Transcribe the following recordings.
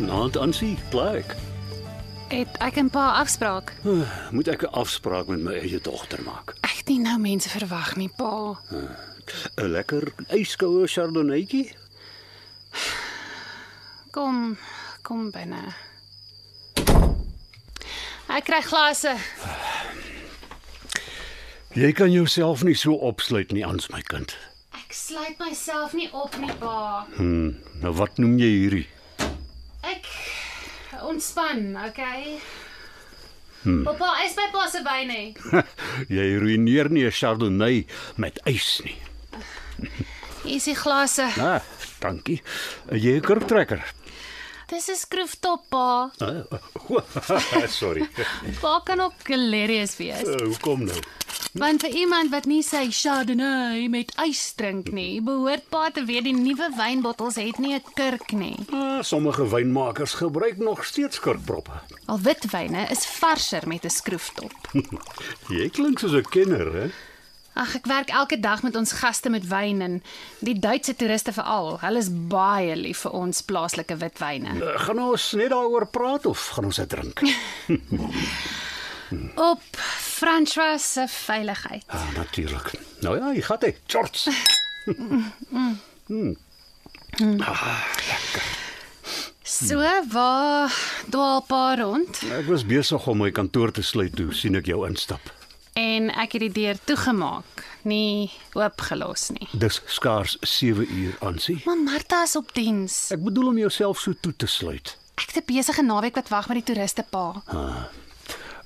Naand aansie, klaar ek. Het ek 'n paar afspraak. Moet ek 'n afspraak met my eie dogter maak. Ek het nie nou mense verwag nie, pa. 'n Lekker yskoue chardonnaytjie? Kom, kom binne. Ek kry glase. Jy kan jouself nie so opsluit nie aan my kind. Ek sluit myself nie op nie, pa. Hm, nou wat noem jy hierdie? Ek ontspan, okay? Hmm. Pappa, is by pa se wyn hè. jy ruïneer nie 'n chardonnay met ys nie. Hier is die glase. Ah, dankie. Jy 'n kurktrekker. Dis 'n skroeftop, pa. Ah, oh. sorry. Pa kan ook hilarious wees, Uh, Eh, hoekom nou? want vir iemand wat nie sy Chardonnay met ys drink nie, behoort pa te weet die nuwe wynbottels het nie 'n kurk nie. Ah, sommige wynmakers gebruik nog steeds kurkproppe. Al witwyne is varser met 'n skroeftop. Jy klink soos 'n kenner, hè? Ag, ek werk elke dag met ons gaste met wyn en die Duitse toeriste veral. Hulle is baie lief vir ons plaaslike witwyne. Uh, gaan ons net daaroor praat of gaan ons dit drink? Op François se veiligheid. Ah, natuurlik. Nou ja, jy gaan dit. Shorts. So waar dwaal pa rond Ek was besig om my kantoor te sluit toe sien ek jou instap. en ek het die deur toegemaak, nie oopgelos nie. Dis skaars 7 uur aansie. Maar Martha is op diens. Ek bedoel om jouself so toe te sluit. Ek het 'n besige naweek wat wag met die toeriste pa.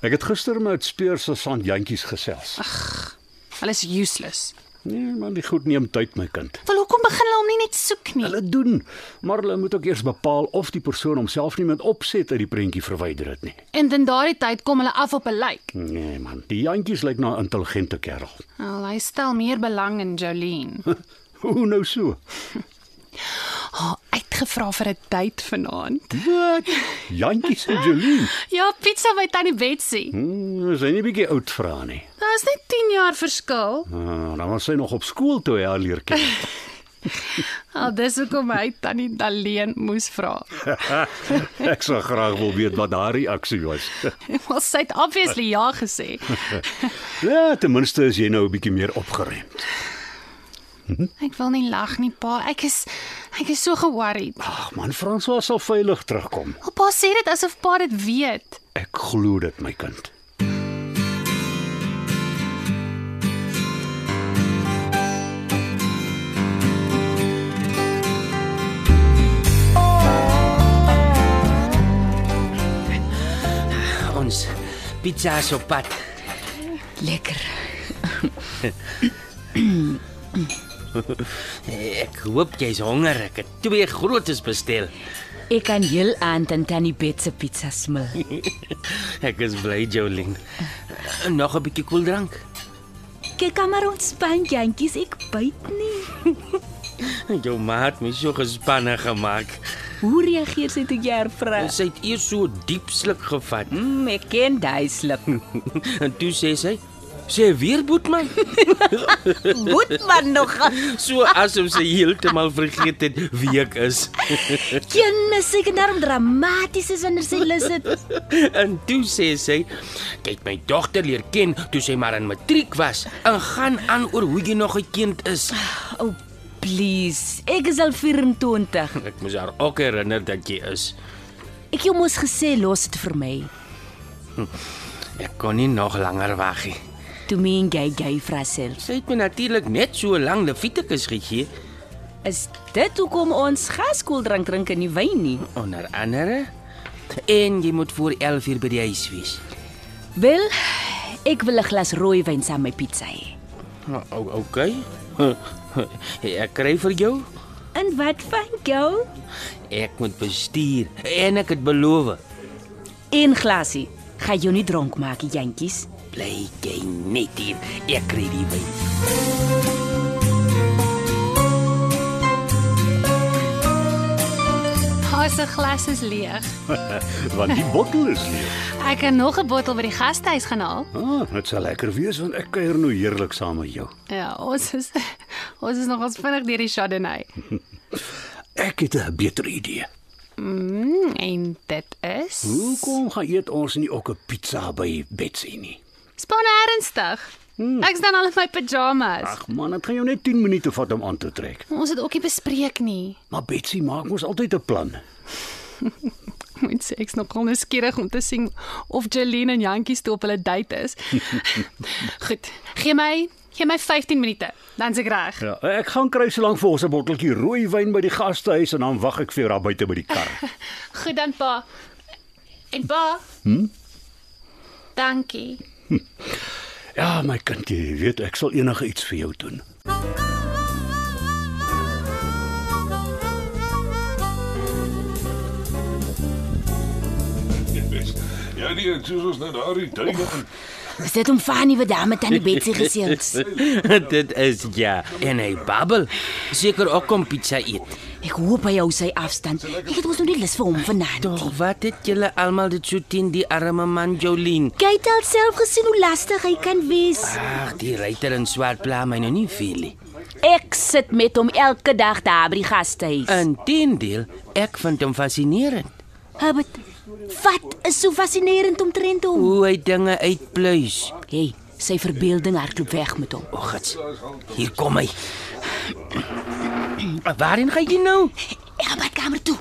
Ek het gister met Speurs se sandjantjies gesels. Hulle is useless. Nee, man, die goed neem tyd my kind. Wel hoekom begin hulle hom nie net soek nie? Hulle doen, maar hulle moet ook eers bepaal of die persoon homself nie met opset uit die prentjie verwyder het nie. En in daardie tyd kom hulle af op 'n lijk. Nee man, die jantjies lyk na 'n intelligente kerel. Al hy stel meer belang in Jolene. Hoe nou so? Haar uitgevra vir 'n date vanaand. Wat? Jantjies en Jolien. Ja, pizza by tannie Betsy. Hmm, is hy nie bietjie oud vra nie? Daar's net 10 jaar verskil. Ah, dan was sy nog op skool toe hy haar leer ken. Al dis hoekom hy tannie Daleen moes vra. Ek sou graag wil weet wat haar reaksie was. Maar sy het obviously ja gesê. Ja, ten minste is jy nou 'n bietjie meer opgeremd. Ek wil nie lag nie, pa. Ek is ek is so ge-worried. Ag man, François sal veilig terugkom. Al pa sê dit asof pa dit weet. Ek glo dit, my kind. Ons pizza is op pad. Lekker. Ek hoop jy's honger. Ek het twee grootes bestel. Ek kan heel aand aan Tannie Bet se pizza smil. Ek is bly, Jolien. Nog 'n bietjie koeldrank. Kyk kan maar ontspan jantjies, ek byt nie. Jou ma het my so gespanne gemaak. Hoe reageer sy toe jy haar vra? Sy het eers so diep sluk gevat. Mm, ek ken daai slip. En toe sê sy: "Sê weer boetman." Moet man nog. So asof sy heeltemal vergeet het wie ek is. Jenne seker daarom dramaties is wanneer sy lus het. En toe sê sy: "Kyk, my dogter leer ken toe sy maar in matriek was. En gaan aan oor hoe jy nog 'n kind is." Oh, please. Ek is al 24. Ek moes haar ook herinner dat jy is. Ek jy moes gesê los dit vir my. Ek kon nie nog langer wag nie. Toe my en jy jy vra self. Sy het my natuurlik net so lank Levitikus gegee. Is dit hoekom ons gaskoeldrank drink en nie wyn nie? Onder andere en jy moet voor 11 uur by die huis wees. Wel, ek wil 'n glas rooiwyn saam met pizza hê. O, okay. Ek kry vir jou. En wat van jou? Ek moet bestuur en ek het beloof. Een glasie. Ga jou nie dronk maak, die jantjies. Bly jy net hier. Ek kry die wyn. Haar se glas is leeg. want die bottel is leeg. Ek kan nog 'n bottel by die gastehuis gaan haal. Ah, dit sal lekker wees want ek kuier nou heerlik saam met jou. Ja, ons is ons is nogals vinnig deur die Chardonnay. Ek het 'n beter idee. Mm, en dit is Hoekom gaan eet ons nie ook 'n pizza by Betsy nie? Span ernstig. Ek staan al in my pyjamas. Ag man, dit gaan jou net 10 minute vat om aan te trek. Ons het ook nie bespreek nie. Maar Betsy maak mos altyd 'n plan. Moet sê ek's nogal nuuskierig om te sien of Jeline en Jantjies toe op hulle date is. Goed, gee my gee my 15 minute, dan's ek reg. Ja, ek gaan kry so lank vir ons 'n botteltjie rooi wyn by die gastehuis en dan wag ek vir jou daar buite by die kar. Goed dan pa. En pa? Hm? Dankie. Ja, my kind, jy weet ek sal enige iets vir jou doen. Ja nee, dit is ons net daar die duine. Is dit om Fanny wat daar met tannie Betsy gesels? Dit is ja. En hy babbel. Seker ook kom pizza eet. Ek hoop hy hou sy afstand. Ek het mos nog nie lus vir hom vanaand Tog nie. wat het julle almal dit so teen die arme man Jolien? Jy het al self gesien hoe lastig hy kan wees. Ag, die ryter in swart pla my nou nie veel nie. Ek sit met hom elke dag daar by die gastehuis. Inteendeel, ek vind hom fascinerend. Hubbard, wat is so fascinerend omtrent hom? Hoe hy dinge uitpluis. Hey, sy verbeelding hardloop weg met hom. O, gits. Hier kom hy. Waarheen gaan jy nou? Ek gaan badkamer toe.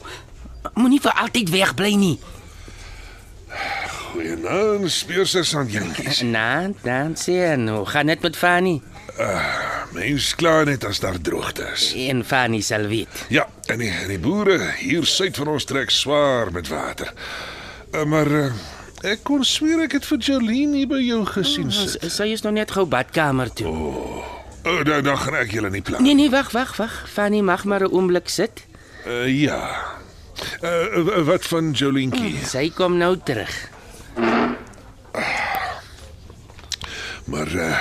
Moenie vir altyd wegbly nie. Goeienaand, speursus aan jentjies. Na, dan sien, hoe gaan dit met Fanny? Mens kla net as daar droogte is. En Fanny sal weet. Ja, en die, die boere hier suid van ons trek swaar met water. Eh, Maar eh, ek kon sweer ek het vir Jolene hier by jou gesien Mm, sit. Sy is nog net gou badkamer toe. O, dan dan gaan ek julle nie pla. Nee nee, wag, wag, wag. Fanny mag maar 'n oomblik sit. Uh, ja. Uh, wat van Jolentjie? Sy kom nou terug. Maar uh,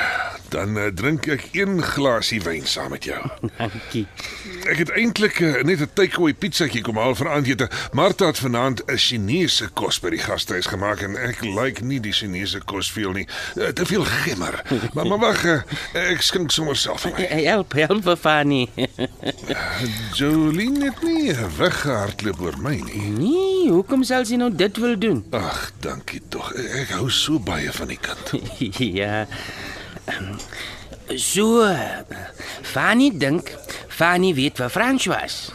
dan uh, drink ek een glasie wyn saam met jou. Dankie. Ek het eintlik uh, net 'n takeaway pizzatjie kom haal vir aandete. Martha het vanaand 'n Chinese kos by die gastehuis gemaak en ek like nie die Chinese kos veel nie. Uh, te veel gimmer. Maar maar wag, uh, ek skink sommer self. in my. Help, help vir Fanny. Jolene het nie weggehardloop oor my nie. Nee, hoekom sal sy nou dit wil doen? Ag, dankie tog. Eh, Ek hou so baie van die kind. ja. ehm, So, Fanny dink Fanny weet waar Frans was.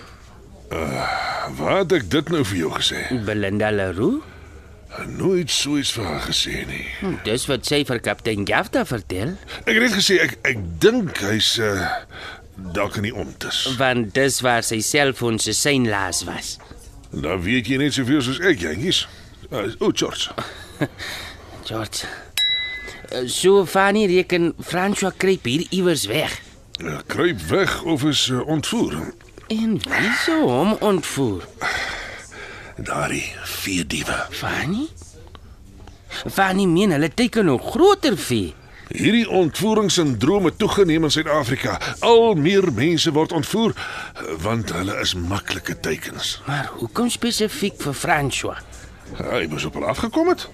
Wat het ek dit nou vir jou gesê? Ah, Belinda Leroux. Hm, Nooit so iets vir haar gesê nie. Dis wat sy vir kaptein Jafta vertel, Ek het net gesê ek ek dink hy's uh, dalk in die omtes. want dis waar sy selfoon se sein laas was. Dan weet jy net soveel soos ek, jentjies. Uh, o, oh, George. George. Eh, So Fanny reken François kruip hier iewers weg. Uh, kruip weg of is uh, ontvoer. En wie sou hom ontvoer? Daardie vier diewe. Fanny? Fanny meen hulle teken nog groter vee. Hierdie ontvoeringssindroom het toegeneem in Suid-Afrika. Al meer mense word ontvoer eh, want hulle is maklike teikens. Maar hoekom spesifiek vir François? Hy moes op hulle afgekom het.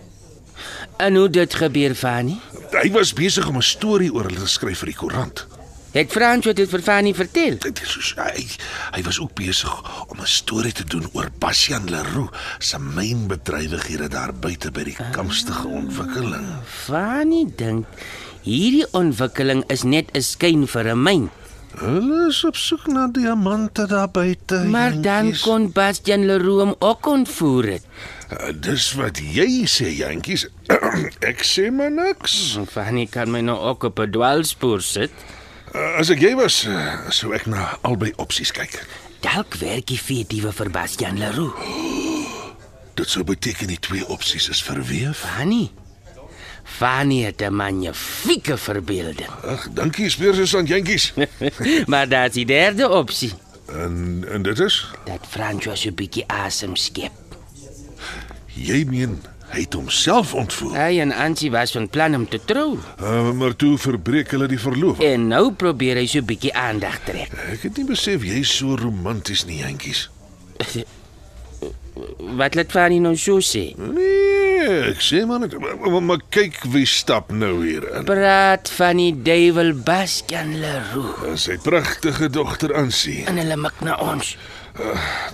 En hoe dit gebeur Fanny? Hy was besig om 'n storie oor hulle te skryf vir die koerant. Het François dit vir Fanny vertel? Dit is soos hy hy was ook besig om 'n storie te doen oor Bastian Leroux se mynbedrywighede daar buite by die kamstige ontwikkeling. Fanny dink hierdie ontwikkeling is net 'n skyn vir 'n myn. Hulle is op soek na diamante daar buite. Maar dan jentjies. kon Bastian Leroux hom ook ontvoer het. Uh, Dis wat jy sê, jentjies. ek sê maar niks. Fanny kan my nou ook op 'n dwaalspoor sit. Eh, As ek jy was, eh, sou ek na albei opsies kyk. Dalk werk die veediewe vir Bastian Leroux. Dit sou beteken die twee opsies is verweef. Fanny. Fanny het 'n magnifieke verbeelding. Ag, dankie is weer soos aan jentjies. Nee. maar daar's die derde opsie. En en dit is Dat François 'n bietjie asem skep. jy meen hy het homself ontvoer. Hy en Ansie was van plan om te trou Uh, maar toe verbreek hulle die verloof. en nou probeer hy so 'n bietjie aandag trek. Ek het nie besef jy's so romanties nie, jentjies. Wat laat Fanny nou so sê? Nee, ek sê maar net maar- maar, maar kyk wie stap nou hier in. Praat van die duiwel Bastian Leroux En Eh, sy pragtige dogter aansien. en hulle mik na ons.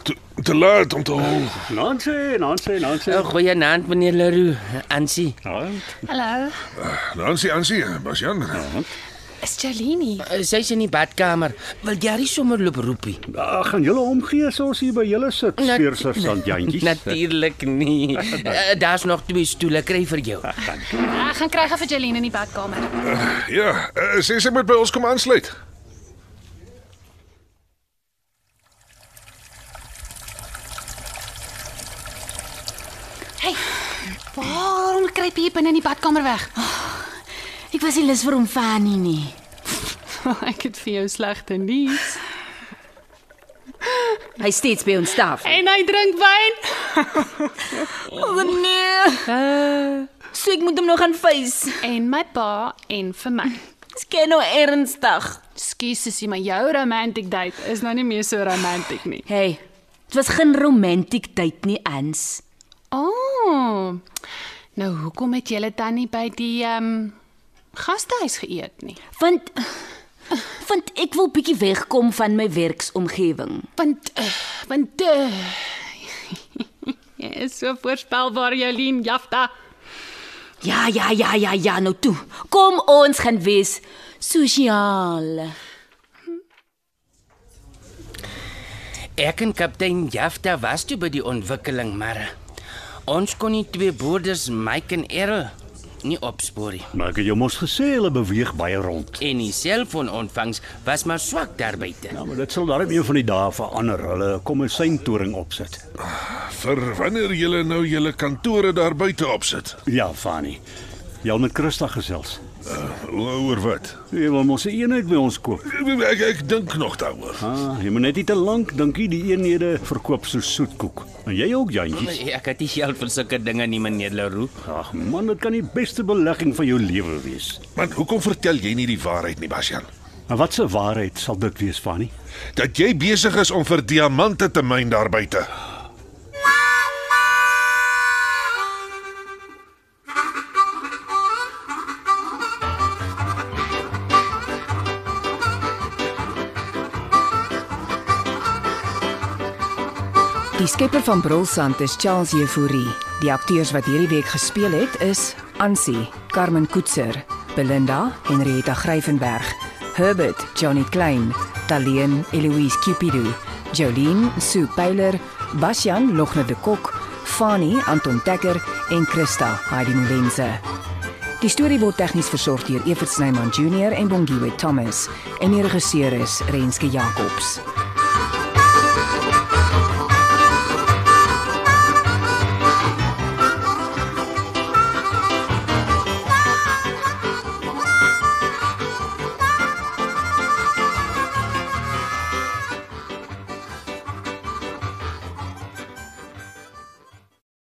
Te, te laat om te hol. Nancy, Nancy, Nancy. Oh, goeienaand meneer Leroux. Ansie, Ja, Hallo, Nancy, Nancy, Basjan. is Jalini. Eh, sy's in die badkamer. Wil jy haar sommer loop roepie? Ag, gaan julle omgee as ons hier by julle sit, Nat- seersergeant Jantjies. Natuurlik nie. Eh, Daar's nog twee stoele kry vir jou. Ja, Ek gaan kry gou vir Jalini in die badkamer. Ja, eh, sê sy moet by ons kom aansluit. Hey. Waarom kruip jy hier binne in die badkamer weg? Ek was nie lus vir hom Fanny nie. Ek het vir jou slegte nuus. Hy is steeds by ons staf. En hy drink wyn. Oh nee. So ek moet hom nog gaan face. En my pa en vir my. Sken nou ernstig. Skus sussie, maar jou romantic date is nou nie meer so romantic nie. Hey. Dit was geen romantic date nie, Ans. Oh. Nou hoekom het julle dan nie by die ehm um, gastehuis geëet nie? Want want ek wil bietjie wegkom van my werksomgewing. Want uh, want uh, jy is so voorspelbaar Jolien Jafta. Ja, ja, ja, ja, ja, nou toe. Kom ons gaan wees sosiaal. Ek en kaptein Jafta was toe by die ontwikkeling, maar eh, ons kon nie twee boerders Mike en Errol nie opspoor nie. Maar ek het jou mos gesê hulle beweeg baie rond. En die selfoonontvangs was maar swak daar buite. Ja, maar dit sal darm een van die dae verander. Hulle kom 'n seintoring opsit. Vir wanneer julle nou julle kantore daar buite opsit. Ja, Fanny. Jy al met Christa gesels. Eh, Oor wat? Jy wil mos 'n eenheid by ons koop. Ek ek dink nog daaroor. Ah, jy moet net nie te lank dink jy die eenhede verkoop so soetkoek. En jy ook, Jantjies. Ek het nie geld vir sulke dinge nie, meneer Leroux. Ag man, dit kan die beste belegging van jou lewe wees. Maar hoekom vertel jy nie die waarheid nie, Basjan? En wat se waarheid sal dit wees, Fanny? Dat jy besig is om vir diamante te myn daar buite. Die skepper van Brulsand is Charles Jefouri. Die akteurs wat hierdie week gespeel het is Ansie, Carmen Koetser, Belinda, Henrietta Gryvenberg, Herbert, Johnny Klein, Taleen, Eloise Cupidou, Jolien, Sue Pyler, Bastian Logne de Kok, Fani Anton Dekker en Christa Heidi Molense. Die storie word tegnies versorg deur Evert Snyman Junior en Bongwe Thomas en die regisseur is Renske Jacobs.